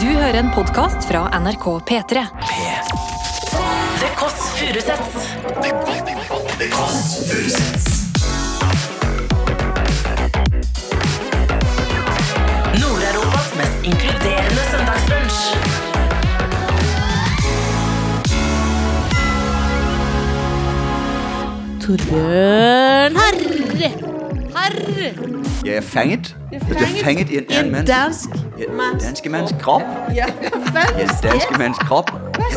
Du hører en podkast fra NRK P3. The Kåss Furuseths. The Kåss Furuseths. Nord-Europas mest inkluderende søndagsbrunch. Torbjørn Herre. Herre. Jeg er fanget. Jeg er fanget i en En anden mands, dansk i en mands danske mands krop. Ja, I en danske mands krop.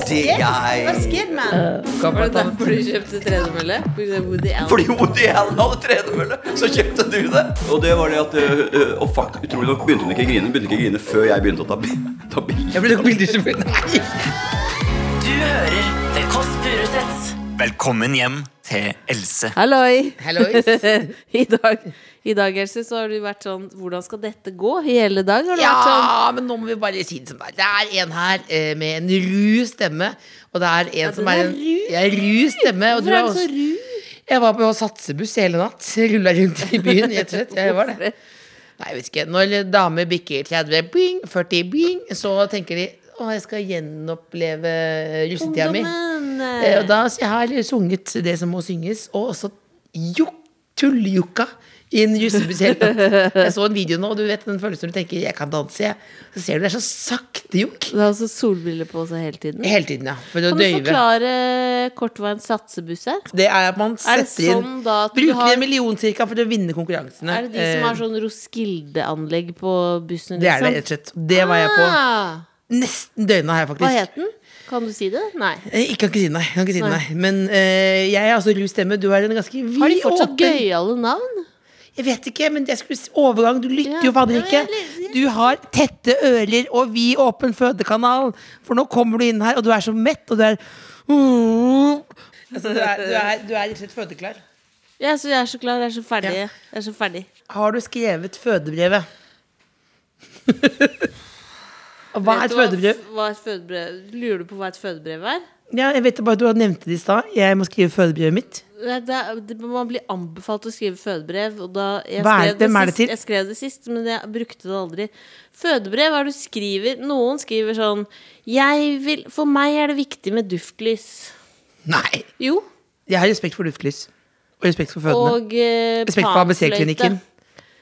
Det er jeg. mann? Eh, Var det derfor du kjøpte tredemølle? På grunn av Woody Allen? Fordi Woody Allen hadde tredemølle, så kjøpte du det. Og det var det at øh, øh, Og fakt, utrolig nok begynte hun ikke å grine. Hun Begynte ikke å grine før jeg begynte å ta, bi- ta bilder. ble nok bilder selvfølgelig. Du hører The Kåss Furuseths. Velkommen hjem til Else. Halloi. Hallois. I dag, I dag Else, så har du vært sånn Hvordan skal dette gå? I hele dag har du vært sånn Ja, men nå må vi bare si det som det er. Det er en her eh, med en ru stemme. Og det er en som den er er en ru. ja, ru stemme. Og du Hvorfor er er du så også, ru? jeg var på satsebuss hele natt. Rulla rundt i byen, rett og slett. Jeg var det. Nei, jeg vet ikke. Når damer bikker 30, bing, 40, bing, så tenker de å, jeg skal gjenoppleve russetida mi. Ungdommen. Eh, Og da s- jeg har sunget det som må synges, og også juk- tullejukka i en russebuss helt natt. Jeg så en video nå, og du vet den følelsen når du tenker 'jeg kan danse', jeg. Så ser du det er så sakte jukk. Du har altså solbriller på seg hele tiden. Hele tiden, ja. For å Kan du døyve. forklare kort hva en satsebuss er? Det er at man Er det setter inn sånn da at du Bruker har- en million cirka for å vinne konkurransene. Er det de som Eh, har sånn Roskilde-anlegg på bussen? liksom? Det er det, rett og slett. Det var jeg på Ah, nesten døgnet her, faktisk. hva het den? Kan du si det? Nei. Eh, Ikke kan ikke si nei. Kan ikke si Nei. nei. Men eh, jeg er altså ru stemme. Du har en ganske vid Har de fortsatt åpen- gøyale navn? Jeg vet ikke, men jeg skulle si overgang. Du lytter Ja. jo fader ikke. Ja, jeg Du har tette ører og vid åpen fødekanal. For nå kommer du inn her, og du er så mett, og du er Mm. altså, du, er, du, er, du er rett og slett fødeklar. Jeg er så, jeg er så klar, jeg er så ferdig. Jeg er så ferdig. Har du skrevet fødebrevet? Og Hva er Vet et du hva- fødebrev? Hva et fødebrev? Lurer du på hva et fødebrev er? Ja, jeg vet det bare Du nevnte det i stad. Jeg må skrive fødebrevet mitt. Nei, Det, er- det, man blir anbefalt å skrive fødebrev. Og da, jeg, Hva er- skrev det hvem er det sist, til? jeg skrev det sist, men jeg brukte det aldri. Fødebrev er du skriver Noen skriver sånn jeg vil, For meg er det viktig med duftlys. Nei. Jo. Jeg har respekt for luftlys. Og respekt for fødende. Og eh, Respekt for panfløyte. ABC-klinikken.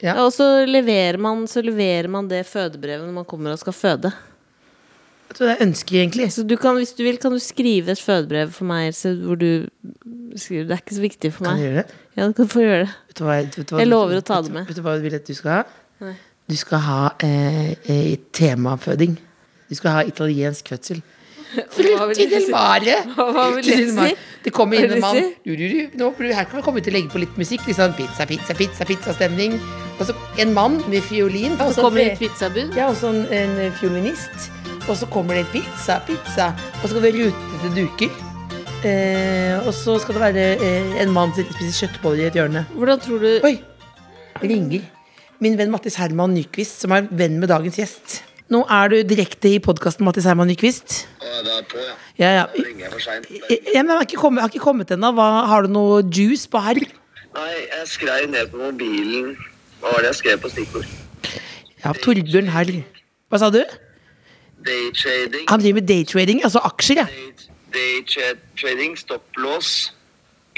Ja, Og så leverer, man, så leverer man det fødebrevet når man kommer og skal føde. Vet du hva jeg ønsker, egentlig? Så du kan, hvis du vil, kan du skrive et fødebrev for meg, Else, hvor du skriver Det er ikke så viktig for Kan meg. jeg gjøre det? Ja, du kan få gjøre det. Vet du hva, vet du hva, Jeg lover å ta vet, det du- med. Vet du hva jeg vil at du skal ha? Du skal ha eh, eh, temaføding. Du skal ha italiensk fødsel. Hva vil Frutti jeg del si? mare! hva vil Frutti jeg del mare. si? Det kommer Hva inn vil en jeg mann. si? Du, du, du. Nå, blir- her kan vi komme ut og legge på litt musikk. Litt sånn pizza, pizza, pizza, pizzastemning. Og så en mann med fiolin. Og Så kommer det et pizzabud. ja, også en, en fiolinist. Og så kommer det en pizza, pizza. Og så skal det være rutete duker. Eh, og så skal det være eh, en mann som spiser kjøttboller i et hjørne. Hvordan tror du Oi, ringer min venn Mattis Herman Nyquist, som er venn med dagens gjest. Nå er du direkte i podkasten Mattis Herman Nyquist. Ja, Det er på, ja. Ja, ja. Da ringer jeg for seint. Ja, men jeg har ikke kommet, jeg har ikke kommet ennå. Hva- Har du noe juice på herr? Nei, jeg skrev ned på mobilen Hva var det jeg skrev på stikkord? Ja, Torbjørn herr. Hva sa du? Daytrading. Han driver med daytrading, altså aksjer, ja. Daytrading, stopplås,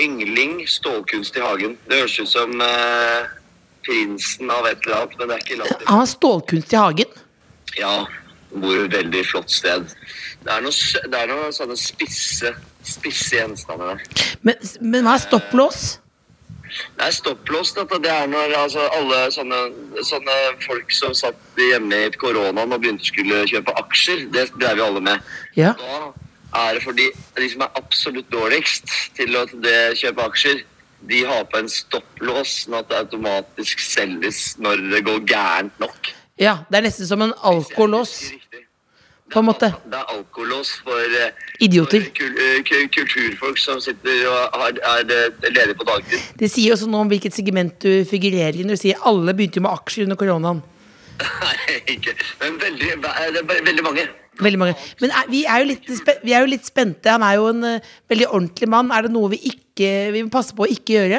yngling, stålkunst i hagen. Det høres ut som eh, prinsen av et eller annet, men det er ikke latter. Han har stålkunst i hagen. Ja, bor et veldig flott sted. Det er noe sø- det er noen sånne spisse, spisse gjenstander der. Men, men hva er stopplås? Det er stopplås, dette. Det er når altså, alle sånne, sånne folk som satt hjemme i koronaen og begynte å skulle kjøpe aksjer, det drev jo alle med. Ja. Da er det fordi de som er absolutt dårligst til å til det, kjøpe aksjer, de har på en stopplås, sånn at det automatisk selges når det går gærent nok. ja. Det er nesten som en alkolås, Riktig. på en måte. Det er alkolås for eh, Idioter. for kul eh, ku- kulturfolk som sitter og har, er eh, ledige på dagtid. Det sier også noe om hvilket segment du figurerer i når du sier alle begynte jo med aksjer under koronaen. Nei, ikke. Men veldig, det er veldig mange. Veldig mange. Men er, vi, er jo litt spe- vi er jo litt spente. Han er jo en eh, veldig ordentlig mann. Er det noe vi ikke Vi må passe på å ikke gjøre?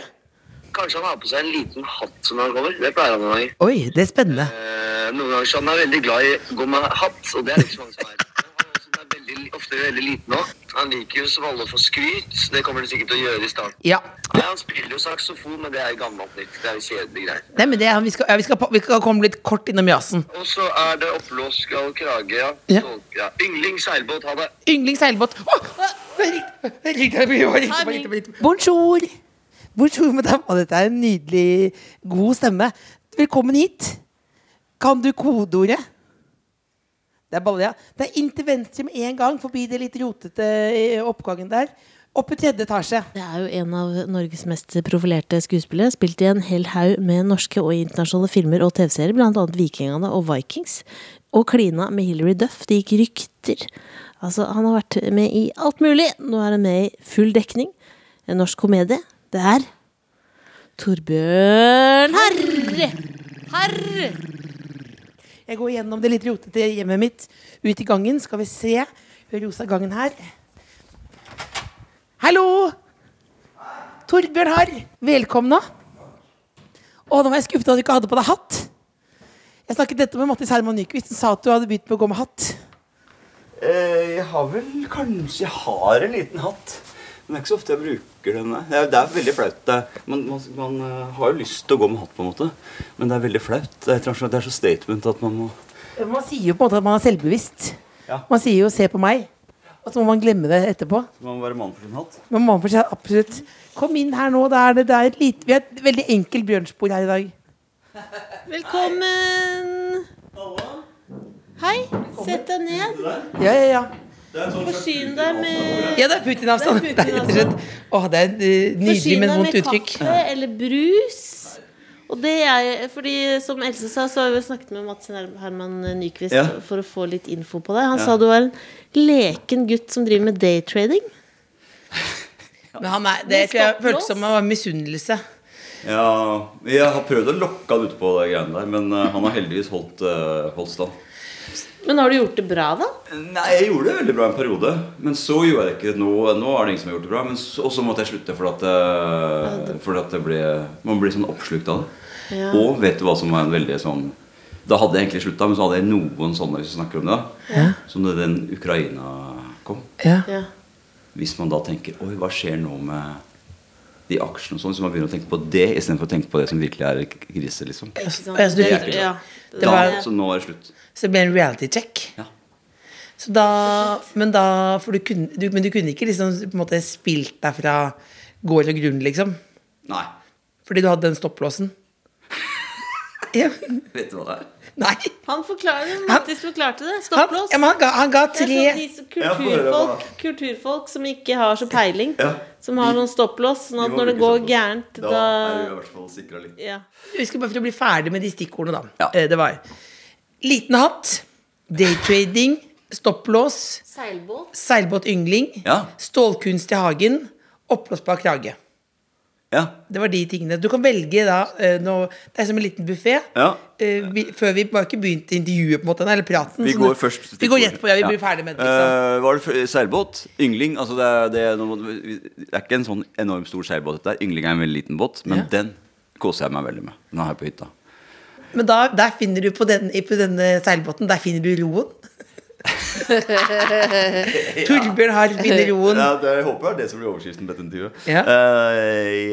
Kanskje han har på seg en liten hatt som han kommer. Det pleier han noen ganger. Oi, det er spennende. Eh, eh, noen ganger så han er veldig glad i å gå med hatt, og det er det ikke så mange som er. Men han er også- han er veldig- Ofte veldig liten òg. Han liker jo som alle å få skryt. så Det kommer han sikkert til å gjøre i starten. Ja. Nei, han spiller jo saksofon, men det er gammelt nytt. Det er jo kjedelige greier. Nei, men det er, vi, skal, ja, vi, skal, på- vi skal komme litt kort innom jazzen. Og så er det oppblåst skal krage, ja. Ja. Så- ja. Yngling seilbåt, ha det. Yndlingsseilbåt. Å, det er riktig, det er riktig, det var riktig, det var riktig, det var riktig. Bonjour. Bonjour, madame. Å, dette er en nydelig, god stemme. Velkommen hit. Kan du kodeordet? Det er balle, ja. Det er inn til venstre med en gang, forbi det litt rotete eh, oppgangen der. Opp i tredje etasje. Det er jo en av Norges mest profilerte skuespillere. Spilt i en hel haug med norske og internasjonale filmer og TV-serier, bl.a. Vikingene og Vikings. Og klina med Hilary Duff. Det gikk rykter. Altså, han har vært med i alt mulig. Nå er han med i Full dekning. En norsk komedie. Det er Torbjørn Herre! Herre! Jeg går gjennom det litt rotete hjemmet mitt. Ut i gangen, skal vi se. Rosa gangen her. Hallo! Torbjørn Harr, velkomna. Å, nå var jeg skuffet at du ikke hadde på deg hatt. Jeg snakket dette med Mattis Herman Nyquist, som sa at du hadde begynt med å gå med hatt. Eh, Jeg har vel kanskje Jeg har en liten hatt. Men det er ikke så ofte jeg bruker den. nei. Det er, det er veldig flaut. det. Man, man, man eh, har jo lyst til å gå med hatt, på en måte. Men det er veldig flaut. Det er, et eller annet sånn- det er så statement at man må Man sier jo på en måte at man er selvbevisst. Ja. Man sier jo 'se på meg', og så må man glemme det etterpå. Man må være mann for sin hatt. Men man får si absolutt Kom inn her nå, det er det, det er et lite Vi har et veldig enkelt bjørnspor her i dag. Velkommen! Hei, sett deg ned. Ja, ja, ja. Forsyn deg med Ja, det er Putin-avstand. Det Det er er rett og slett Åh, det er et nydelig, Forsyn men deg vondt med uttrykk. kaffe eller brus. Og det er fordi, som Else sa, så har vi snakket med Mats Herman Nyquist Ja. for å få litt info på deg. Han sa du var en leken gutt som driver med daytrading. Men han er, det tror jeg Stopp nå. føltes som han var misunnelse. Ja, jeg har prøvd å lokke han ut på de greiene der, men eh, han har heldigvis holdt, eh, holdt stand. Men har du gjort det bra, da? Nei, jeg gjorde det veldig bra en periode, men så gjorde jeg det ikke. Nå, nå er det ingen som har gjort det bra. Men så, og så måtte jeg slutte fordi at, eh, fordi at det ble, man blir sånn oppslukt av det. Ja. Og vet du hva som var en veldig sånn Da hadde jeg egentlig slutta, men så hadde jeg noen sånne som snakker om det. da Som da den Ukraina kom. Ja. Hvis man da tenker Oi, hva skjer nå med de aksjene og sånn? Så man begynner å tenke på det istedenfor å tenke på det som virkelig er krise, liksom. Ikke sant? Ja, så du fikk- ja. Det var- Da, så nå er det slutt. Så det ble en reality check. Ja. Så da, men, da for du kunne, du, men du kunne ikke liksom på en måte spilt deg fra gård og grunn, liksom? Nei. Fordi du hadde den stopplåsen? Ja. Vet du hva det er? Nei. Han forklarer, Mattis forklarte det. Han, Stopplås. ja, men han, ga, han ga Det er tre sånn de som kulturfolk, kulturfolk som ikke har så peiling. Ja. Som har Vi- noen stopplås. Sånn at Vi må når det bruke går sånn. gærent, Da da er du i hvert fall sikra litt. ja. Vi skal bare for å bli ferdig med de stikkordene, da. Ja. Eh, Det var liten hatt, daytrading, stopplås, Seilbåt. seilbåtyngling, Ja. stålkunst i hagen, oppblåsbar krage. Ja. Det var de tingene. Du kan velge da eh, nå, Det er som en liten buffé. Ja. vi, før vi bare ikke begynte intervjuet, på en måte, eller praten. Vi så går det- først Sånn Vi går rett på, ja, vi blir ferdig med det. Liksom. Eh, Var det f- seilbåt? Yngling? Altså det, er, det, er noe- det er ikke en sånn enormt stor seilbåt dette er. Yngling er en veldig liten båt, men Ja. den koser jeg meg veldig med. Den er her på hytta. Men da, der finner du på, den, i- på denne seilbåten Der finner du roen. Torbjørn Harr finner roen. Ja, det, jeg håper det er det som blir overskriften på dette intervjuet. Ja. Eh,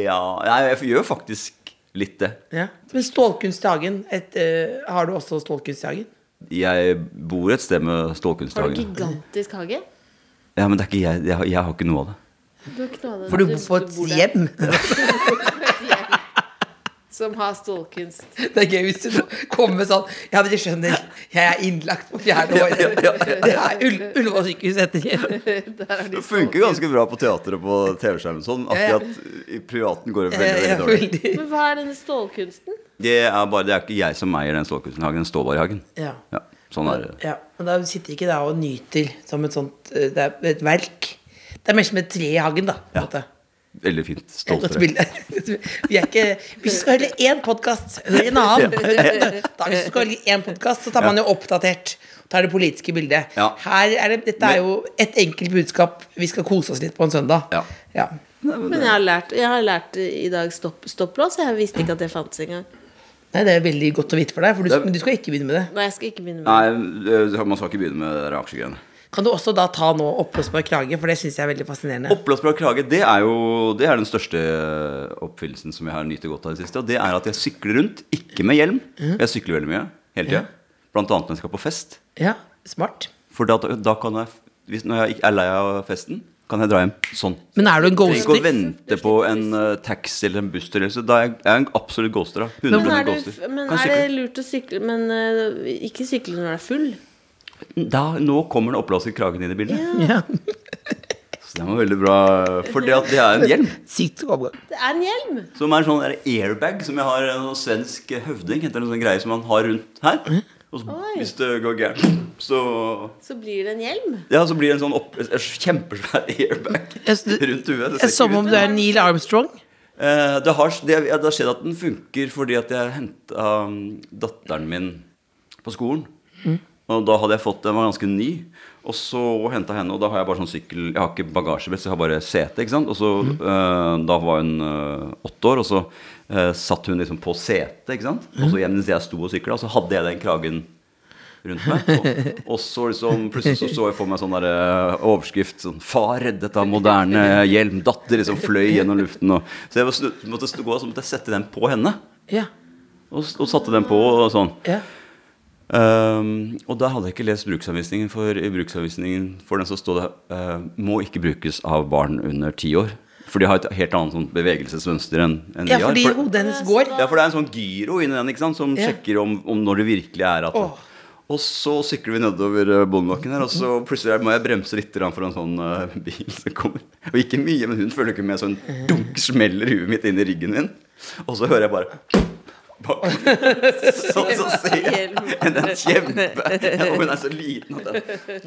ja. Nei, jeg gjør faktisk litt det. Ja. Men Stålkunst i hagen, et, eh, har du også Stålkunst i hagen? Jeg bor et sted med Har du Stålkunsthagen. gigantisk hage? Ja, men det er ikke jeg, jeg, har- jeg har ikke noe av det. Du har ikke noe av det. For du bor på et bor der. hjem. Som har stålkunst. Det er gøy hvis du kommer med sånn Ja, dere skjønner, jeg er innlagt på fjerde år. Det er Ull Ullevål sykehus heter det. Det funker ganske bra på teateret og på TV-skjermen sånn. Ja, ja. Akkurat i privaten går det veldig, Jeg veldig er dårlig. veldig Men hva er denne stålkunsten? Det er bare, det er ikke jeg som eier den stålkunsthagen, den står bare i hagen. Ja. Ja, sånn er det. Ja, men da sitter ikke der og nyter som et sånt eh, Det er et verk. Det er mer som et tre i hagen, da. På en måte. Veldig fint. Et Stolt godt av det. bilde. Vi er ikke Hvis du skal høre én podkast, hør en annen. Hør en annen. Da, hvis du skal høre én podkast, så tar man jo oppdatert. Tar det politiske bildet. Ja. Her er det, dette er jo et enkelt budskap. Vi skal kose oss litt på en søndag. Ja. Ja. Men jeg har lært, jeg har lært i dag stopp, stopplås. Jeg visste ikke at det fantes engang. Nei, Det er veldig godt å vite for deg, for du, Det- men du skal ikke begynne med det. Nei, jeg skal ikke begynne med Nei, eh, man skal ikke begynne med det der aksjegreiene. Kan du også da ta nå oppblåsbar krage, for det syns jeg er veldig fascinerende. Oppblåsbar krage det er jo det er den største oppfyllelsen som jeg har nytt godt av i det siste. Og det er at jeg sykler rundt, ikke med hjelm. Jeg sykler veldig mye hele tida. Blant annet når jeg skal på fest. Ja, smart. For da, da kan jeg, hvis, når jeg ikke er lei av festen, kan jeg dra hjem sånn. Men er du en Trenger ikke å ghoster? vente på en eh, taxi eller en busstur. eller så Da er jeg, jeg er en absolutt ghoster. da. 100 Men er, det, ghoster. men Kan er sykle. det lurt å sykle Men eh, ikke sykle når du er full? Mm, Da, nå kommer den oppblåste kragen inn i bildet. Ja. Så den var veldig bra. eh, For det at det er en hjelm Sykt overgang. Det er en hjelm! som er en sånn der airbag som jeg har en sånn svensk høvding heter det, en sånn greie som han har rundt her. Og så, Oi. hvis det går gærent, så Så blir det en hjelm. Ja, så blir det en sånn opp, en kjempesvær airbag Jeg- du- rundt huet. Det ser Det er ikke som ut. om du er Neil Armstrong. Eh, det, har, det, ja, det har skjedd at den funker fordi at jeg henta datteren min på skolen. Og da hadde jeg fått Den var ganske ny. Og så henta henne, og da har jeg bare sånn sykkel Jeg har ikke bagasjebelt, så jeg har bare sete. ikke sant? Og så, eh, Da var hun eh, åtte år, og så eh, satt hun liksom på setet. ikke sant? Og så mens jeg sto og sykla, så hadde jeg den kragen rundt meg. Og, og så liksom, plutselig så, så jeg for meg sånn der, eh, overskrift sånn 'Far reddet av moderne hjelm'. Datter liksom fløy gjennom luften. Og, så jeg var snu- måtte stå, så måtte jeg sette den på henne. Ja. Og, s- og satte den på og sånn. ja. Ehm, og da hadde jeg ikke lest bruksanvisningen, for i bruksanvisningen for den så stod det eh, 'må ikke brukes av barn under ti år'. For de har et helt annet sånt bevegelsesmønster enn enn ja, vi har. fordi For- hodet hennes går. ja, for det er en sånn gyro inni den ikke sant? som Ja. sjekker om, om når det virkelig er at Åh. Og så sykler vi nedover eh, bondebakken her, og så plutselig må jeg bremse litt grann for en sånn eh, bil som kommer. Og ikke mye, men hun følger ikke med, så en dunk smeller huet mitt inn i ryggen min. Og så hører jeg bare bak. Så, så ser jeg en en kjempe Og hun er så liten at jeg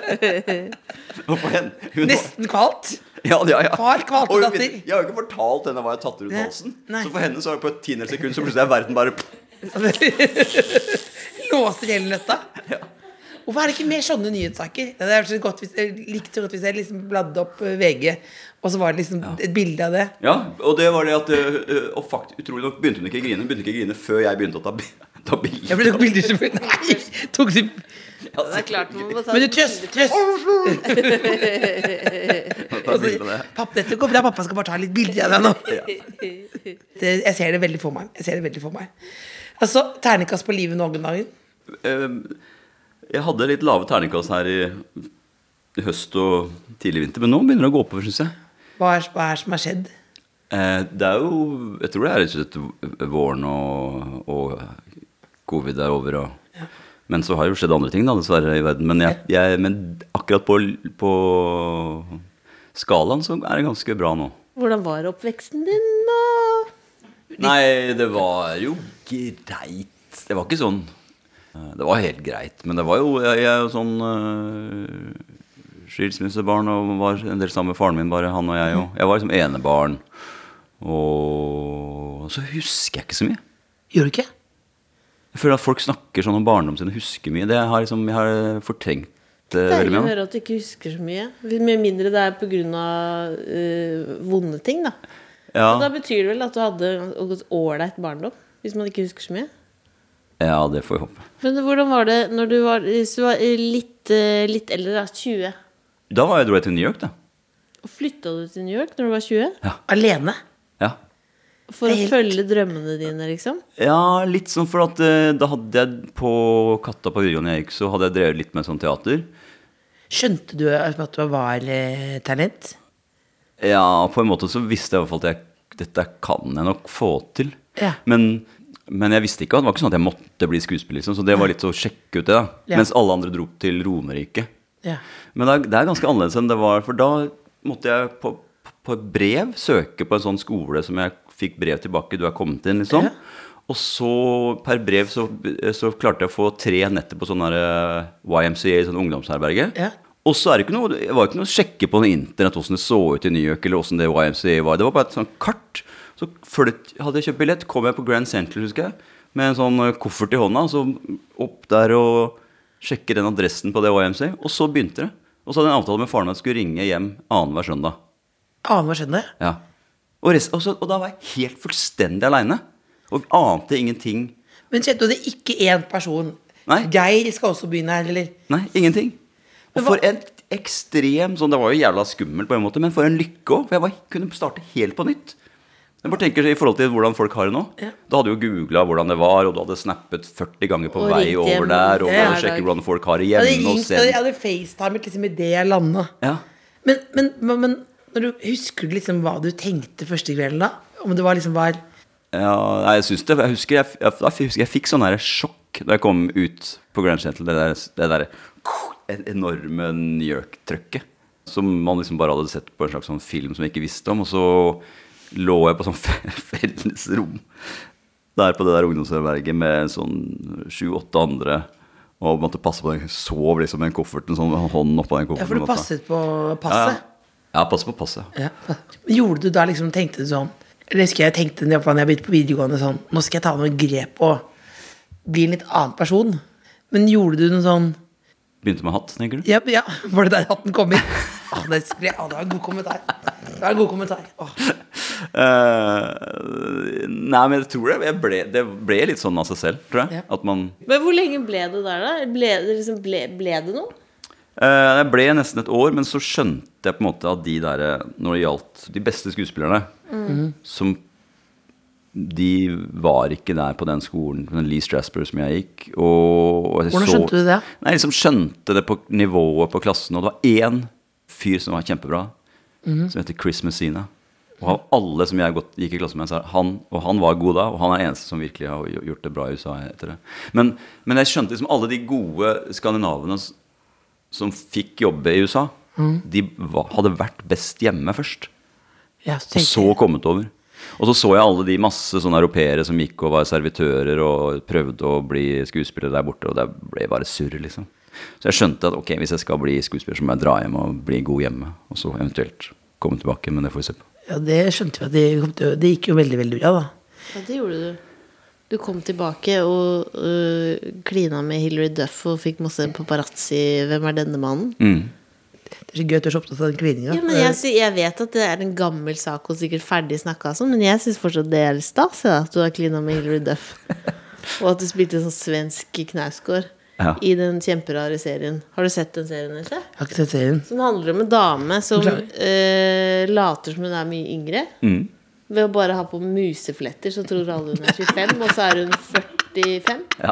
Og for henne hun, Nesten kvalt. ja, ja, ja. Far kvalte Og hun datter. vet- Jeg har jo ikke fortalt henne hva jeg har tatt rundt Nei. halsen. Nei. Så for henne så er det på et tiendesekund så plutselig er verden bare Låser hele nøtta. Ja. Hvorfor er det ikke mer sånne nyhetssaker? Det er så godt hvis, jeg likte så godt hvis jeg liksom bladde opp eh, VG, og så var det liksom et bilde av det. Ja, og det var det at øh, øh, Og fakt, utrolig nok begynte hun ikke å grine. Hun begynte ikke å grine før jeg begynte å ta, bi- ta Jeg bilder. ble tok bilder selvfølgelig. Nei! Tok du Det er klart Men du trøst, trøst! Ta bilder av det. Pappa, dette går bra, pappa skal bare ta litt bilder av deg nå. Det, jeg ser det veldig for meg. Jeg ser det veldig for meg. Altså, Ternekast på livet nå om dagen. Ehm, Jeg hadde litt lave terningkast her i, i høst og tidlig vinter, men nå begynner det å gå oppover, syns jeg. Hva er, hva er som har skjedd? Eh, Det er jo Jeg tror det er rett og slett våren og, og covid er over. Og, Men så har jo skjedd andre ting, da, dessverre, i verden. Men, jeg, jeg, men akkurat på, på skalaen så er det ganske bra nå. Hvordan var oppveksten din, da? Nei, det var jo greit. Det var ikke sånn eh, Det var helt greit, men det var jo Jeg, jeg er jo sånn eh, skilsmissebarn og var en del sammen med faren min, bare han og jeg. Og jeg var liksom enebarn. Og så husker jeg ikke så mye. Gjør du ikke? Jeg føler at folk snakker sånn om barndommen sin og husker mye. Det har liksom, jeg har fortrengt det veldig Deilig å mye. høre at du ikke husker så mye. Med mindre det er pga. Uh, vonde ting, da. Ja, Og da betyr det vel at du hadde et ålreit barndom? Hvis man ikke husker så mye. ja, det får vi håpe. Men hvordan var det når du var, hvis du var eh, litt, eh, litt eldre, da? 20? Da var jeg, dro jeg til New York, da. Og flytta du til New York når du var 20? Alene? Ja. For å Helt. følge drømmene dine, liksom? Ja, litt sånn, for at eh, da hadde jeg på Katta på videregående jeg gikk, så hadde jeg drevet litt med sånn teater. Skjønte du at du var eh, talent? Ja, på en måte så visste jeg i hvert fall at jeg, dette kan jeg nok få til. Ja. Men, men jeg visste ikke, det var ikke sånn at jeg måtte bli skuespiller, liksom, så det var litt å sjekke ut det. da. Ja. Mens alle andre dro til Romerike. Ja. Men det er, det er ganske annerledes enn det var, for da måtte jeg på, på et brev søke på en sånn skole som jeg fikk brev tilbake, du er kommet inn, liksom. Ja. Og så per brev så, så klarte jeg å få tre netter på sånn der, eh, YMCA, sånn ungdomsherberge. Ja. Og så er det ikke noe, det var ikke noe å sjekke på noe internett hvordan det så ut i New York, eller hvordan det YMCA var. Det var bare et sånt kart. Så før det, hadde jeg kjøpt billett, kom jeg på Grand Central, husker jeg, med en sånn eh, koffert i hånda, og så opp der og sjekke den adressen på det YMCA, og så begynte det. Og så hadde jeg en avtale med faren min at jeg skulle ringe hjem annenhver søndag. Aner hva skjønner. Ja. Og, rest, og, så, og da var jeg helt fullstendig aleine. Og ante ingenting. Men kjente du det er ikke én person? Nei. Geir skal også begynne her, eller? Nei, ingenting. Og Men hva- for en ekstrem sånn, Det var jo jævla skummelt, på en måte, men for en lykke òg. For jeg bare kunne starte helt på nytt. Jeg bare tenker I forhold til hvordan folk har det nå. Da hadde du jo googla hvordan det var, og du hadde snappet 40 ganger på Og vei ringt over hjem. der, og Ja, ja, hver dag. sjekke hvordan folk har det Jeg hjemme. hadde og ringt, se- jeg hadde facetimet liksom idet jeg landa. Ja. Men, men, men, men når du, husker du liksom hva du tenkte første kvelden da? Om det var liksom var Ja, nei, jeg syns det. Jeg husker jeg, jeg, jeg husker jeg fikk sånn her sjokk da jeg kom ut på Grand Central. Det der, det der en- enorme New York-trøkket. Som man liksom bare hadde sett på en slags sånn film som jeg ikke visste om. Og så lå jeg på sånn fe- felles rom der på det der ungdomsherberget med sånn sju-åtte andre. Og måtte passe på den. Sov liksom med en koffert, en sånn hånd oppå den Ja, kofferten. for du på en måte. passet på Ja, ja. passet? ja, passe på passet. Ja. Men Gjorde du da liksom, tenkte du sånn Eller husker jeg tenkte da jeg begynte på videregående sånn Nå skal jeg ta noen grep og bli en litt annen person. Men gjorde du noe sånn Begynte med hatt, tenker du? Ja, ja var det der hatten kom inn? Å, det, skulle jeg- å, det var en god kommentar. Det var en god kommentar. Åh. Eh, nei, men jeg tror det. Jeg ble, det ble litt sånn av seg selv, tror jeg. At man Men hvor lenge ble det der, da? Ble det, liksom, ble, ble det noe? Eh, Jeg ble nesten et år, men så skjønte jeg på en måte at de der eh, Når det gjaldt de beste skuespillerne Som De var ikke der på den skolen, på den Lee Strasberg som jeg gikk. Og, og jeg Hvordan skjønte du det? Nei, jeg liksom skjønte det på nivået på klassen. Og det var én fyr som var kjempebra, som heter Chris Messina. Og av alle som jeg gått, gikk i klasse med, så er han, og han var god da, og han er eneste som virkelig har gj- gjort det bra i USA etter det. Men, men jeg skjønte liksom alle de gode skandinavene s- som fikk jobbe i USA, Mm. de va- hadde vært best hjemme først. Ja, så Og tenkte så kommet over. Og så så jeg alle de masse sånne europeere som gikk og var servitører og prøvde å bli skuespillere der borte, og det ble bare surr, liksom. Så jeg skjønte at ok, hvis jeg skal bli skuespiller, så må jeg dra hjem og bli god hjemme. Og så eventuelt komme tilbake, men det får vi se på. jeg- ja, det skjønte vi at det kom til å Det gikk jo veldig, veldig bra, da. Ja, det gjorde du. Du kom tilbake og øh, klina med Hilary Duff og fikk masse paparazzi. Hvem er denne mannen? Det er så gøy at du er så opptatt av den klininga. Ja, men jeg, sy- jeg vet at det er en gammel sak og sikkert ferdig snakka sånn, men jeg syns fortsatt det er litt stas ja, at du har klina med Hilary Duff. Og at du spilte sånn svensk knausgård Ja. i den kjemperare serien. Har du sett den serien, Else? har ikke sett serien. Som handler om en dame som Beklager. eh, later som hun er mye yngre. Mm. Ved å bare ha på musefletter, så tror alle hun er 25, og så er hun 45. Ja,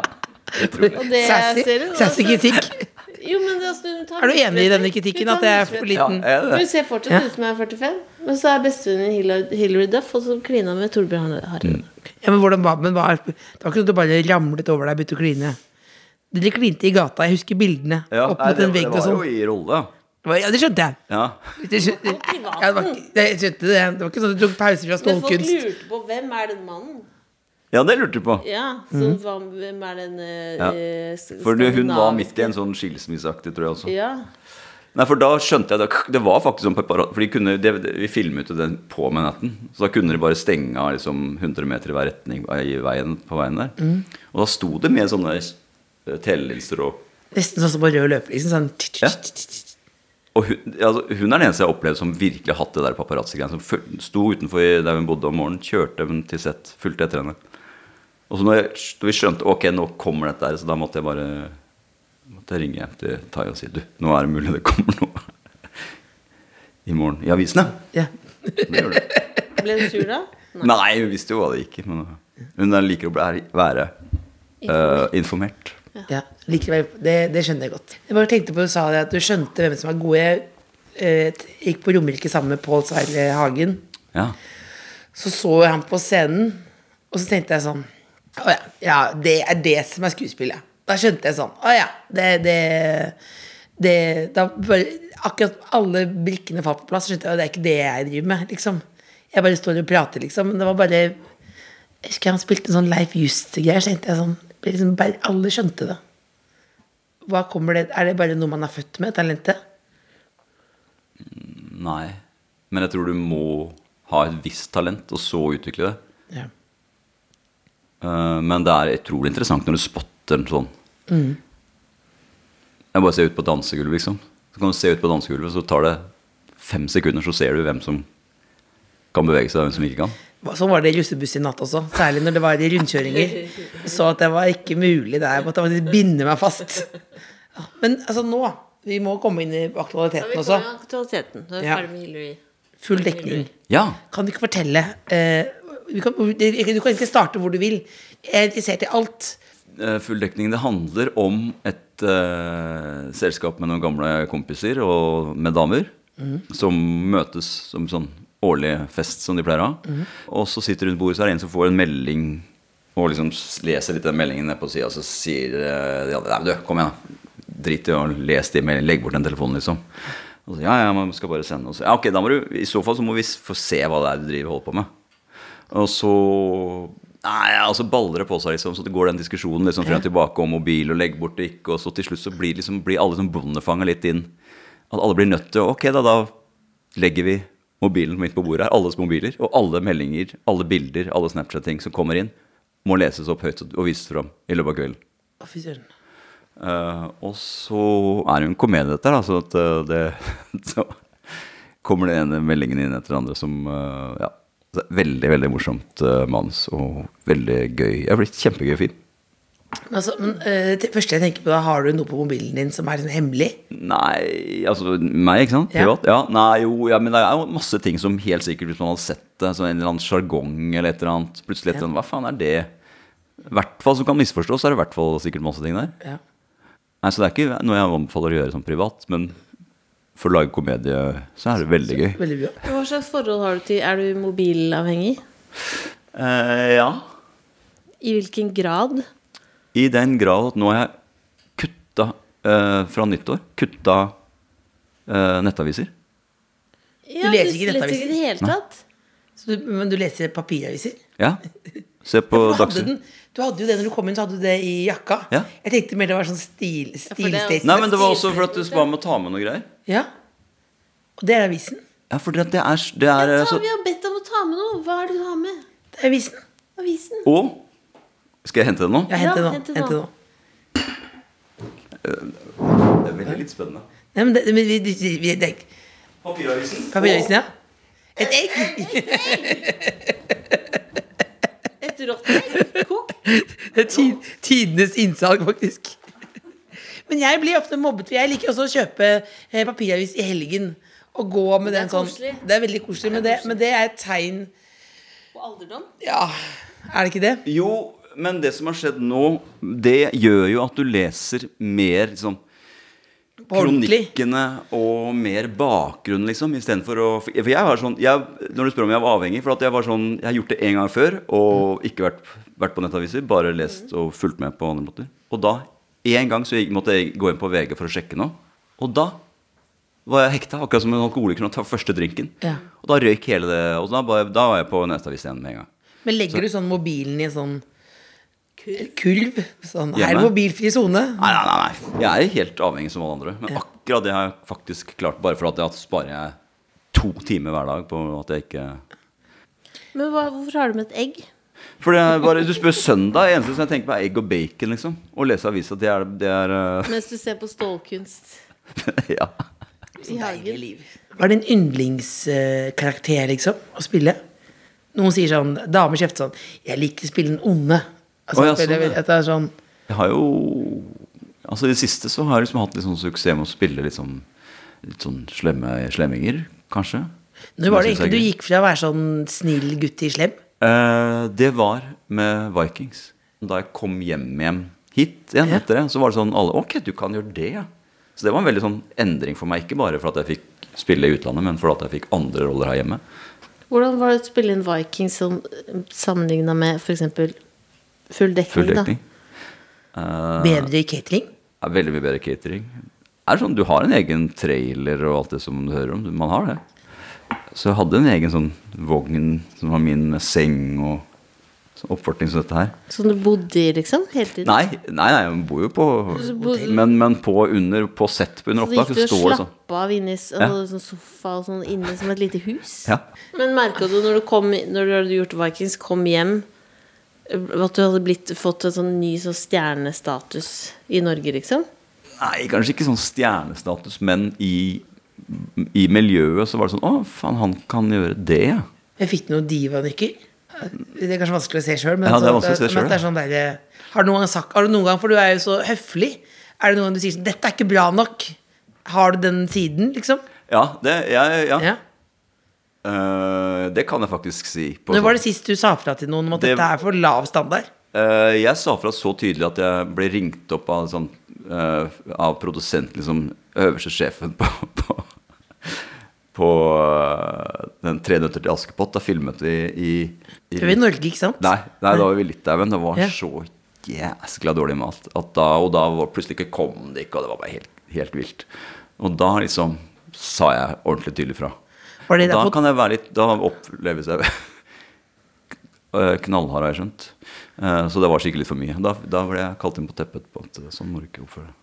det tror jeg. Og det Sassy, ser hun sassy altså- kritikk. Jo, men det, altså, hun tar Er du enig i musefletter. denne kritikken? Hun tar At jeg er for musefletter. Ja, liten? er det Men det? Hun ser fortsatt Ja. ut som hun er 45. Men så er bestevenninnen Hillary, Hillary Duff, og så klina med Torbjørn Mm. Harrien. Ja, men hvordan var, men var, Det var ikke sånn at du bare ramlet over deg og begynte å kline. Dere klinte i gata. Jeg husker bildene. Ja, opp nei, mot det, en det vegg og var jo sånn. i rolle, Det var- Ja, det skjønte jeg. ja. Det skjønte, ja, det, var ikke, det, skjønte det. det var ikke sånn at du tok pauser fra Men folk stålkunst. lurte på hvem er den mannen? Ja, det lurte du på. Ja, så hva, hvem er den eh, Mm. Ja. eh, s- For du- hun var skandinaviske- midt i en sånn skilsmisseaktig, tror jeg også. Ja. Nei, for da skjønte jeg det. Det var faktisk sånn paparazzi For de kunne, det, det- vi filmet jo den på Manhattan. Så da kunne de bare stenge av liksom 100 meter i hver retning i veien, på veien der. Og da sto det med sånne eh, telelinser og Nesten sånn som på rød løper. Liksom, sånn. tsk, tsk, Ja. tsk, tsk, tsk. Og hun, altså, hun er den eneste jeg har opplevd som virkelig har hatt det der paparazzi-greiene. Som føl- sto utenfor i- der hun bodde om morgenen, kjørte hun til sett, fulgte etter henne. Og så når jeg, da vi skjønte ok, nå kommer dette her, så da måtte jeg bare måtte jeg ringe hjem til Tai og si du, nå er det mulig det kommer noe i morgen i avisene. Ja. Det gjør det. Ble du sur da? Nei, hun visste jo hva det gikk i. Men hun liker å bli, være eh, informert. Ja, likevel, det, det skjønner jeg godt. Jeg bare tenkte på Du sa det at du skjønte hvem som var gode. Jeg eh, gikk på Romerike sammen med Pål Sverre Hagen. Ja. Så så jeg ham på scenen, og så tenkte jeg sånn Å ja, ja, det er det som er skuespillet. Da skjønte jeg sånn. Å ja, det, det, det da bare, Akkurat alle brikkene falt på plass. Så skjønte jeg at det er ikke det jeg driver med. liksom. Jeg bare står og prater, liksom. Men det var bare Jeg husker han spilte en sånn Leif Just-greier. Så tenkte jeg sånn det ble liksom, bare, Alle skjønte det. Hva kommer det, Er det bare noe man er født med, talentet? Nei. Men jeg tror du må ha et visst talent, og så utvikle det. Ja. Eh, men det er utrolig interessant når du spotter en sånn. Jeg bare ser ut på dansegulvet, liksom. Så kan du se ut på dansegulvet, så tar det fem sekunder, så ser du hvem som kan bevege seg, og hvem som ikke kan. Sånn var det i russebuss i natt også. Særlig når det var i rundkjøringer. Så at det var ikke mulig der. Jeg måtte faktisk binde meg fast. Ja, Men altså nå Vi må komme inn i aktualiteten også. aktualiteten. Da er vi Ja. ferdig med Hillary. Full dekning. Ja. Kan du ikke fortelle eh, du, kan, du kan egentlig starte hvor du vil. Jeg er interessert i alt. eh, Full dekning. Det handler om et eh, selskap med noen gamle kompiser og med damer. Som møtes som sånn årlig fest som de pleier å ha. Og så sitter rundt bordet, så er det en som får en melding. Og liksom s- leser litt den meldingen ned på sida, og så sier eh, de andre Nei, du, kom igjen. da. Drit i å lese de meldingene. Legg bort den telefonen, liksom. Og så, ja, ja, man skal bare sende. Og så, ja, ok, da må du, I så fall så må vi s- få se hva det er du driver og holder på med. Og så Nei, altså baller det på seg, liksom. Så det går den diskusjonen liksom, frem og tilbake om mobil og legg bort og ikke. Og så til slutt så blir, liksom, blir alle liksom bondefanga litt inn. At alle blir nødt til å Ok, da, da legger vi mobilen midt på bordet her. Alles mobiler og alle meldinger, alle bilder, alle Snapchat-ting som kommer inn, må leses opp høyt og vises fram i løpet av kvelden. Å, fy søren. Eh, og så er det jo en komedie dette, her, da, så at eh, det Så kommer det ene meldingen inn etter det andre som eh, Ja. så det er Veldig, veldig morsomt eh, manus og veldig gøy. Det har blitt kjempegøy film. Men, altså, men eh, det første jeg tenker på, da har du noe på mobilen din som er sånn hemmelig? Nei Altså meg, ikke sant? Ja. Privat? Ja. Nei, jo, ja, men det er jo masse ting som helt sikkert, hvis man hadde sett det, så en eller annen sjargong eller et eller annet Plutselig et eller annet Hva faen er det? I hvert fall som kan misforstås, så er det i hvert fall sikkert masse ting der. Ja. Nei, Så det er ikke noe jeg anbefaler å gjøre som privat, men for å lage komedie så er det veldig gøy. Veldig bra. Hva slags forhold har du til Er du mobilavhengig? Eh, ja. I hvilken grad? I den grad at nå har jeg kutta eh, fra nyttår Kutta eh, nettaviser. Ja, leser ikke leser nettaviser? i det hele tatt? Så du, men du leser papiraviser? Ja. Se på For du, hadde Dagsrevyen. den, du hadde jo det når du kom inn, så hadde du det i jakka. Ja. Jeg tenkte mer det var sånn stil, for det er stilstatement. Nei, men det var også for at du ba meg å ta med noe greier. Ja. Og det er avisen. Ja, for det det er, det er eh, Ta, så, vi har bedt deg om å ta med noe. Hva er det du har med? Det er avisen. Avisen? Og Skal jeg hente det nå? Ja, hent det Ja, nå. hent det Hent det nå. nå. Det er veldig litt spennende. Nei, men det, men vi, vi, vi, det er ikke- Papiravisen. Papiravisen, ja. Et egg! Et rått egg? Kokt? Det er tid, tidenes innsalg, faktisk. Men jeg blir ofte mobbet. for Jeg liker også å kjøpe eh, papiravis i helgen. Og gå med den sånn. koselig. Det er veldig koselig, men det, men det er et tegn På alderdom? Ja, er det ikke det? Jo, men det som har skjedd nå, det gjør jo at du leser mer liksom, På ordentlig. kronikkene og mer bakgrunn, liksom. Istedenfor å For jeg var sånn jeg, Når du spør om jeg var avhengig For at jeg var sånn Jeg har gjort det én gang før og ikke vært, vært på nettaviser. Bare lest og fulgt med på andre måter. Og da, én gang, så gikk- måtte jeg gå inn på VG for å sjekke noe. Og da var jeg hekta, akkurat som en alkoholiker når han tar første drinken. Ja. Og da røyk hele det. Og da, bare, da var jeg på nettavis igjen med en gang. Men legger du sånn mobilen i en sånn kurv? kurv sånn, er det Hjemme? mobilfri sone? Nei, nei, nei, nei. Jeg er helt avhengig som alle andre. Men akkurat det har jeg faktisk klart. Bare for at jeg sparer jeg to timer hver dag på at jeg ikke Men hva, hvorfor har du med et egg? For det er bare, Du spør søndag. Det eneste som jeg tenker på, er egg og bacon. liksom Å lese avisa. Det er, det er eh, Mens du ser på stålkunst Ja. i sånn hagen? Hva er din yndlingskarakter, liksom, å spille? Noen sier sånn, damer kjefter sånn, jeg liker å spille den onde. Altså, Å, ja, spiller, sånn, jeg- ja. at det er sånn, Jeg har jo Altså I det siste så har jeg liksom hatt litt sånn suksess med å spille litt sånn, litt sånn slemme slemminger, kanskje. Når Som jeg var det synes er egentlig du gøy. gikk fra å være sånn snill gutt til slem? Eh, det var med Vikings. Da jeg kom hjem igjen hit igjen Ja. etter det, så var det sånn alle Ok, du kan gjøre det, ja. Så det var en veldig sånn endring for meg. Ikke bare for at jeg fikk spille i utlandet, men for at jeg fikk andre roller her hjemme. Hvordan var det å spille inn Vikings som sammenligna med f.eks. full dekning? Full da? dekning. Ah. Bedre i catering? Det Er veldig mye bedre catering. Er det sånn, Du har en egen trailer og alt det som du hører om. Man har det. Så jeg hadde en egen sånn vogn som var min, med seng og sånn oppvarting som dette her. Som du bodde i, liksom? Hele tiden? Nei, nei, nei hun bor jo på bodde- Men, men på, under, på sett under Så gikk opptak så du og står det sånn. slappa av inni s- altså, sånn sofa og sånn inne som et lite hus? Ja. Men merka du når du kom Når du hadde gjort Vikings, kom hjem eh, at du hadde blitt, fått en sånn ny sånn stjernestatus i Norge, liksom? Nei, kanskje ikke sånn stjernestatus, men i, i miljøet så var det sånn Å, faen, han kan gjøre det, ja. Jeg fikk noen divanykker. Det er kanskje vanskelig å se sjøl, men, Ja, det er altså vanskelig å se at- selv, men at det er sånn derre- har, du noen gang sagt- har du noen gang, for du er jo så høflig, er det noen gang du sier sånn 'Dette er ikke bra nok'. Har du den siden, liksom? Ja, det, jeg, ja. Ja. Eh, det kan jeg faktisk si. på Når var sånn- det sist du sa fra til noen om at Det- dette er for lav standard? Eh, jeg sa fra så tydelig at jeg ble ringt opp av, sånn, eh, av produsenten, liksom øverste sjefen på, på, på eh, den 'Tre nøtter til Askepott'. Da filmet vi i, i Det var i Norge, ikke sant? Nei, nei, da var vi i Litauen. Det var Ja. så jæskla dårlig mat. At da, og da var plutselig ikke kom det ikke, og det var bare helt, helt vilt. Og da liksom sa jeg ordentlig tydelig fra. Var det Og da derfor- kan jeg være litt Da oppleves jeg eh, knallhard, har jeg skjønt. Eh, Så det var skikkelig for mye. Da, da ble jeg kalt inn på teppet på at eh, sånn må du ikke oppføre deg.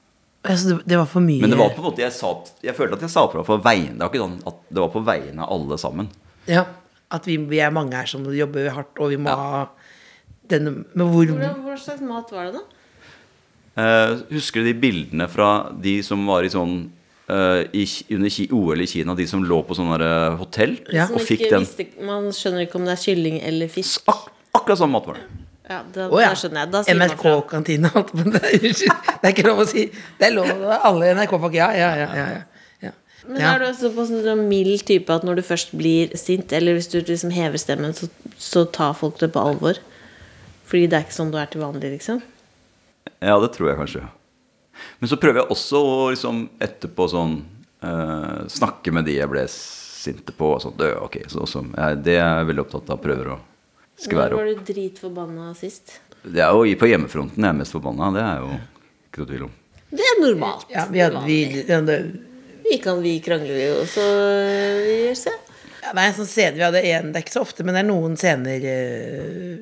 Altså, det, det var for mye Men det var på en måte jeg, sa, jeg følte at jeg sa fra på vegne Det var ikke sånn at det var på vegne av alle sammen. ja, At vi, vi er mange her som jobber hardt, og vi må ha den Men hvor Hvordan, hva slags mat var det, da? Eh, husker du de bildene fra de som var i sånn eh, i, Ki- under Ki- OL i Kina, de som lå på sånne der, eh, hotell Ja. og fikk den man skjønner ikke om det er kylling eller fisk. ak Akkurat sånn mat var det. Ja, da, Å ja. skjønner jeg. NRK-kantina. alt, men Det er det er ikke lov å si. Det er lov å alle NRK-folk. Ja, ja, ja. ja, ja, ja. Men ja. er du også på sånn sånn mild type at når du først blir sint, eller hvis du liksom hever stemmen, så, så tar folk det på alvor? Fordi det er ikke sånn du er til vanlig, liksom? Ja, det tror jeg kanskje. Men så prøver jeg også å liksom etterpå sånn eh, Snakke med de jeg ble sinte på. Og sånn, «Dø, ok, så, så, jeg, Det er jeg veldig opptatt av. Prøver å Når skvære var opp. du dritforbanna sist? Det er jo i- på hjemmefronten jeg er mest forbanna. Det er jo ikke noe tvil om. Det er normalt. ja vi hadde, vi, ja, det- Vi kan, vi krangler jo, så vi gjør se. Ja, det er en sånn scene vi hadde en, Det er ikke så ofte, men det er noen scener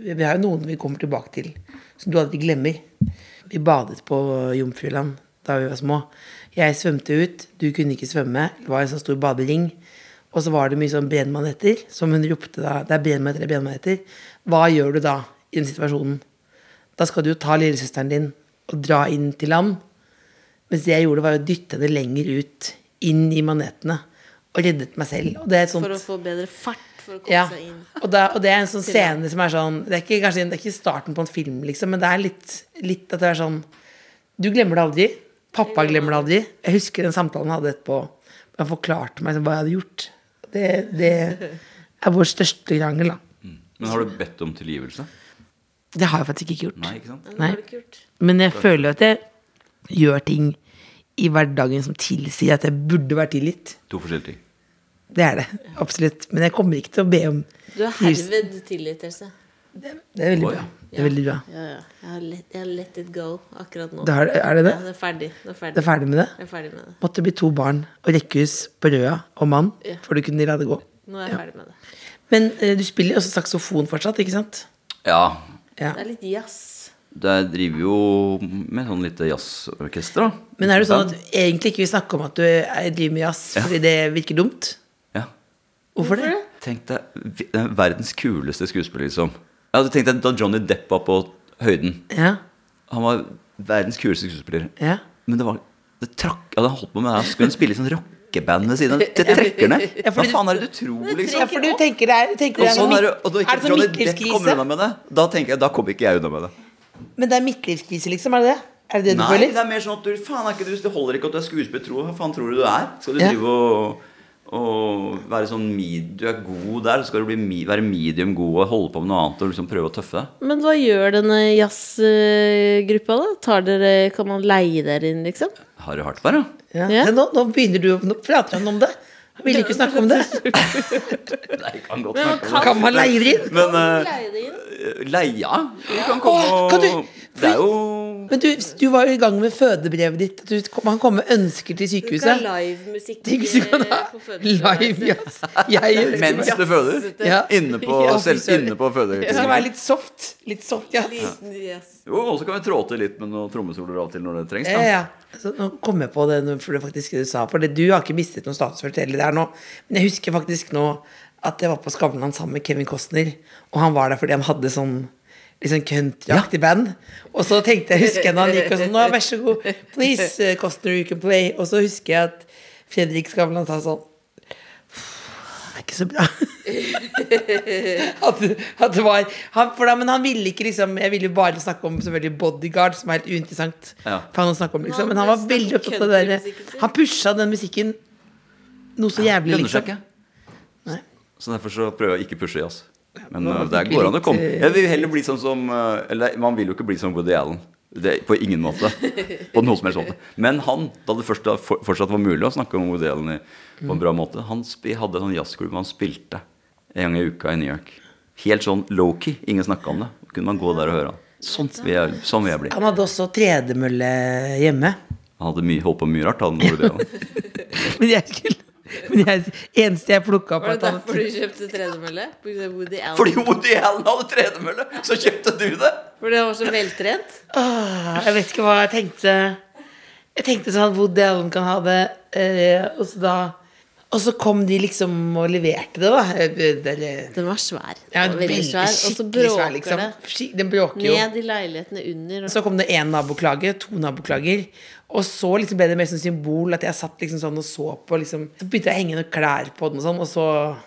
eh, Vi har jo noen vi kommer tilbake til, som du aldri glemmer. Vi badet på Jomfruland da vi var små. Jeg svømte ut, du kunne ikke svømme. Det var en sånn stor badering. Og så var det mye sånn brennmaneter, som hun ropte da. Det er brennmaneter, det er brennmaneter. Hva gjør du da i den situasjonen? Da skal du jo ta lillesøsteren din og dra inn til land. Mens det jeg gjorde, var å dytte henne lenger ut, inn i manetene. Og reddet meg selv. Og det er et sånt For å få bedre fart. For å komme ja. seg inn. Og, da, og det er en sånn scene som er sånn Det er ikke, kanskje, det er ikke starten på en film, liksom, men det er litt, litt at det er sånn Du glemmer det aldri. Pappa glemmer det aldri. Jeg husker den samtalen jeg hadde etterpå. Han forklarte meg liksom, hva jeg hadde gjort. Det, det er vår største krangel, da. Men har du bedt om tilgivelse? Det har jeg faktisk ikke gjort. Nei, ikke sant? Nei. Det er kult. Men jeg føler at jeg gjør ting i hverdagen som tilsier at jeg burde vært tilgitt. To forskjellige ting. Det er det. Absolutt. Men jeg kommer ikke til å be om Du er herved tilgitt, Else. Det er veldig Oi. bra. Det er veldig bra. Ja, ja. Jeg har let, jeg har let it go akkurat nå. Det er, er det det? Ja, det er ferdig. Det er ferdig, Det er ferdig med det? Jeg er ferdig med det. Måtte bli to barn og rekkehus på Røa og mann Ja. for du kunne la det gå. Nå er jeg ferdig med det. Men eh, du spiller jo også saksofon fortsatt, ikke sant? Ja. Ja. Det er litt jazz. Der driver jo med sånn lite jazzorkester, da. Men er det sånn at du egentlig ikke vil snakke om at du er- driver med jazz fordi det virker dumt? Ja. Hvorfor det? Tenk deg vi- den verdens kuleste skuespiller, liksom. Ja, du tenkte Da Johnny Depp var på høyden. Ja, Han var verdens kuleste skuespiller. ja. Men det var det trakk, ja, Han holdt på med det her, skulle hun spille i sånn rockeband ved siden av. Det trekker ned! Ja, Hva fordi faen er det du tror, ja liksom? for du tenker det er, du tenker Og det er, sånn noe er det, mid- og da er ikke det sånn Johnny Depp kommer midtlivskrise? unna med det, da tenker jeg, da kommer ikke jeg unna med det. Men det er midtlivskrise, liksom? Er det det? Er det det du Nei, det føler? er mer sånn at du faen er ikke du, det holder ikke at du er skuespiller, tror jeg. Hva faen tror du du er? Skal du Ja. drive og, og være sånn mid, Du er god der, så skal du bli, mi- være medium god og holde på med noe annet og liksom prøve å tøffe deg? Men hva gjør denne jazzgruppa, da? Tar dere, kan man leie dere inn, liksom? Harry Hartberg, ja. Ja. Ja. Nå, nå begynner du Nå prater han om det. Han vil ikke snakke om det. Nei, kan godt snakke om det. Kan man leie det inn? Men eh, Leie det inn? leia Du kan komme Åh, kan og du- Det er jo Men du, du var jo i gang med fødebrevet ditt. at Du, man kommer med ønsker Du til skal sykehuset. ha livemusikk Tenk hvis du kan ha på live jazz. Jeg elsker Mens jazz. du føder? Ja. Inne på, Ja, fy selv, søren. inne på Det skal være fødeklinikken. litt soft. Litt soft jazz. Yes. Jo, og så kan vi trå til litt med noen trommesoler av og til når det trengs. Ja, Da. ja. Så nå kom jeg på det nå, for det faktisk du sa. For det, du har ikke mistet noen status for det hele der nå. Men jeg husker faktisk nå at jeg var på Skavlan sammen med Kevin Costner, og han var der fordi han hadde sånn Litt sånn countryaktig band. Og så tenkte jeg, husker jeg da han gikk og sånn Nå, vær så god, please, eh, Costner, you can play. Og så husker jeg at Fredrik Skavlan sa sånn I ikke så bra. at, at det var han, for da, Men han ville ikke liksom Jeg ville jo bare snakke om selvfølgelig Bodyguard, som er helt uinteressant. Ja. For han å snakke om liksom Men han Nå, var det er veldig snakk om opptatt av det countrymusikken derre sin. Han pusha den musikken noe så jævlig, Lønner seg liksom. ikke. Nei. Så derfor så prøver jeg å ikke pushe jazz. Men nå uh, fikk der vi går an å litt, komme. eh, Jeg vil heller bli sånn som uh, Eller man vil jo ikke bli som Woody Allen. Det, på ingen måte. På noen som helst måte. Men han, da det først da for, fortsatt var mulig å snakke om Woody Allen i, på en bra Mm. måte, han sp hadde en sånn jazzklubb hvor han spilte en gang i uka i New York. Helt sånn low-key. Ingen snakka om det. Kunne man gå der og høre han. Sånn vil jeg, sånn vil jeg bli. Han hadde også tredemølle hjemme. Han hadde mye, holdt på med mye rart, han Woody Allen. Men jeg skulle men jeg, eneste jeg plukka opp Var det at han- derfor du kjøpte tredemølle? På grunn av Woody Allen? Fordi Woody Allen hadde tredemølle, så kjøpte du det! Fordi han var så veltrent? Åh, Jeg vet ikke hva jeg tenkte Jeg tenkte sånn Woody Allen kan ha det eh, Og så da Og så kom de liksom og leverte det da Eh, det- det- Den var svær. ja, Den var veldig svær. Og så skikkelig svær, bråker liksom. det. Skik- Den bråker jo Ned i leilighetene under. så kom det én naboklage, to naboklager. Og så liksom ble det mer sånn symbol at jeg satt liksom sånn og så på. Liksom. Så begynte jeg å henge noen klær på den, og sånn, og så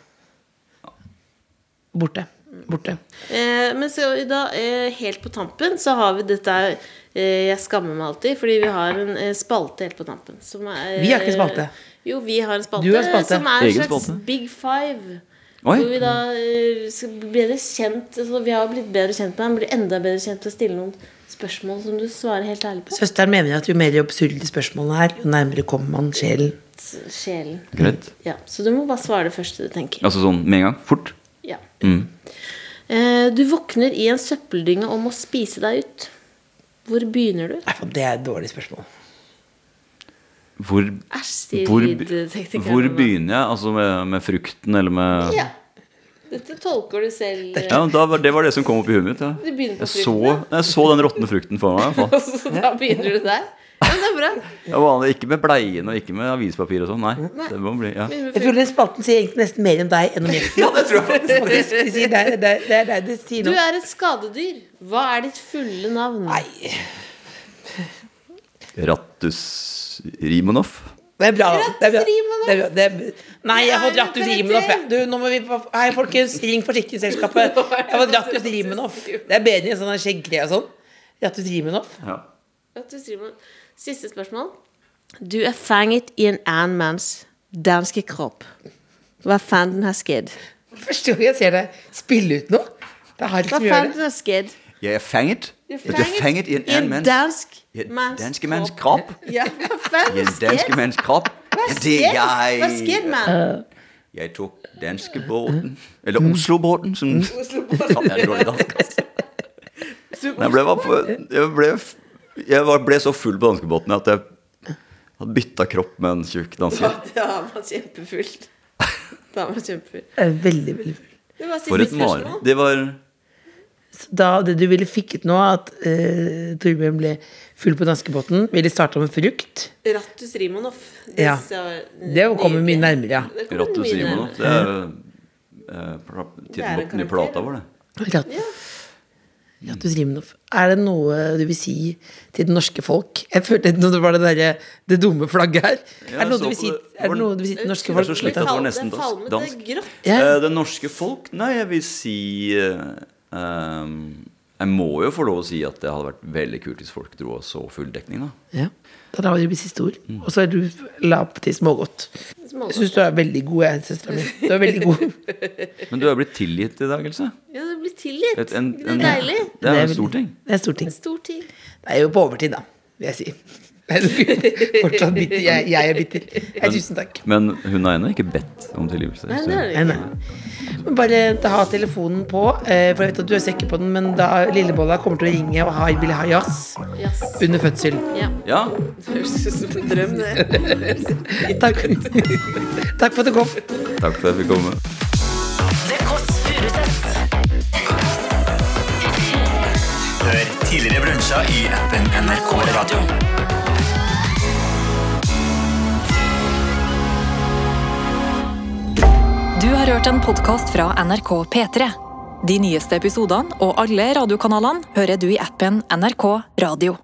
Borte. Borte. Eh, men så i dag, eh, helt på tampen, så har vi dette er, eh, Jeg skammer meg alltid, fordi vi har en eh, spalte helt på tampen. Som er, Vi har ikke spalte. Jo, vi har en spalte, Du har spalte. som er en Egen slags spalte. big five. Oi. Hvor vi da eh, skal bli bedre kjent altså, Vi har jo blitt bedre kjent med ham, blir enda bedre kjent til å stille noen spørsmål som du svarer helt ærlig på. Søsteren mener at jo mer absurde spørsmålene er, jo nærmere kommer man sjelen. Sjelen. Greit. Ja, så du må bare svare det første du tenker. Altså sånn med en gang. Fort. Ja. Mm. Eh, du våkner i en søppeldynge og må spise deg ut. Hvor begynner du? Nei, faen, Det er et dårlig spørsmål. Hvor, Æsj, sier hvor, lydteknikeren hvor nå. begynner jeg? Altså med, med frukten eller med Ja. Dette tolker du selv. Ja, men da, var- Det var det som kom opp i huet mitt. Ja. Du begynner på Jeg, så, frukten, jeg så den råtne frukten for meg. i hvert fall. Så da begynner du der. Ja, men det er bra. Jeg var Ikke med bleiene og ikke med avispapir og sånn. Nei, det må bli ja. Begynner Jeg med føler den spalten sier egentlig nesten mer om deg enn om gjesten. det tror jeg faktisk. Faktisk, de sier deg- Det er- det er deg det sier frukt. Du noe. er et skadedyr. Hva er ditt fulle navn? Nei. Rattus Rimonov. Det er bra. da. Det er bra. Rattus Rimonoff. Det er bra. Det er... Nei, jeg har fått Det er Rattus en Rimonoff. jeg. karakter. Du, nå må vi på- Hei, folkens, ring forsikringsselskapet. Jeg har fått Rattus Rimonoff. Det er bedre enn sånn der skjeggkre og sånn. Rattus Rimonoff. Ja. At du skriver om- Siste spørsmål. Du er fanget i en annen manns danske kropp. Hva fanden har skjedd? Første gang jeg ser deg spille ut noe. Det er Harry Hva som gjør det. fanden har skjedd? Jeg er fanget. er Jeg er fanget i en annen manns dansk i en manns danske manns kropp. Ja, hva I fanden en har skjedd? danske manns kropp. Hva Ja, Det skjedd? Hva skjedde, jeg mann? Jeg tok danskebåten. Eller Oslobåten, som Faen, jeg er dårlig i dansk, altså. Men Jeg ble, var på- jeg ble, jeg var, ble så full på danskebåten at jeg hadde bytta kropp med en tjukk danske. Da var man kjempefull. Da var man kjempefull. Jeg er Veldig, veldig full. Det var For siste et mare. spørsmål. Det var Så Da det du ville fikket nå, at eh, Torbjørn ble full på danskebåten, ville starta med frukt. Rattus Rimonoff. Ja. Det kommer mye nærmere, ja. Rattus Simonov. Det er eh, pla- Det er en tittelen på den karakter, nye ja. plata vår, det. Rat- Rattus Rimonoff. Er det noe du vil si til det norske folk? Jeg følte at det var det, der, det dumme flagget her. Ja, er, det så noe du vil si, på det. er det noe du vil si til det norske Jeg er folk? så sliten. Det var nesten dansk. Falmete Dansk. grått. Ja. Eh, det norske folk? Nei, jeg vil si eh, ehm, Jeg må jo få lov å si at det hadde vært veldig kult hvis folk dro og så full dekning, da. Ja. Da lar vi det bli siste ord. Mm. Og så er du la opp til smågodt. Jeg syns du er veldig god, jeg, søstera mi. Du er veldig god. Men du er blitt tilgitt i dag, Else. Ja, det blir tilgitt. Et- en- det en- er deilig. Det er jo veldig- en stor ting. Det er en stor ting. Stor ting. Det er jo på overtid, da, vil jeg si. Nei, du er Fortsatt bitter. Jeg, jeg er bitter. Nei, tusen takk. Men hun har ennå ikke bedt om tilgivelse. Nei, så- det er det ikke. Nei, nei. Men bare ta telefonen på, eh, for jeg vet at du er sikker på den, men da Lillebolla kommer til å ringe og ha, vil ha jazz Yes. under fødsel. Ja. Ja, Det høres ut som en drøm, det. Takk. Takk for at du kom. takk for at jeg fikk komme. Det Kåss Furuseths. Hør tidligere brunsja i appen NRK Radio. Du har hørt en podkast fra NRK P3. De nyeste episodene og alle radiokanalene hører du i appen NRK Radio.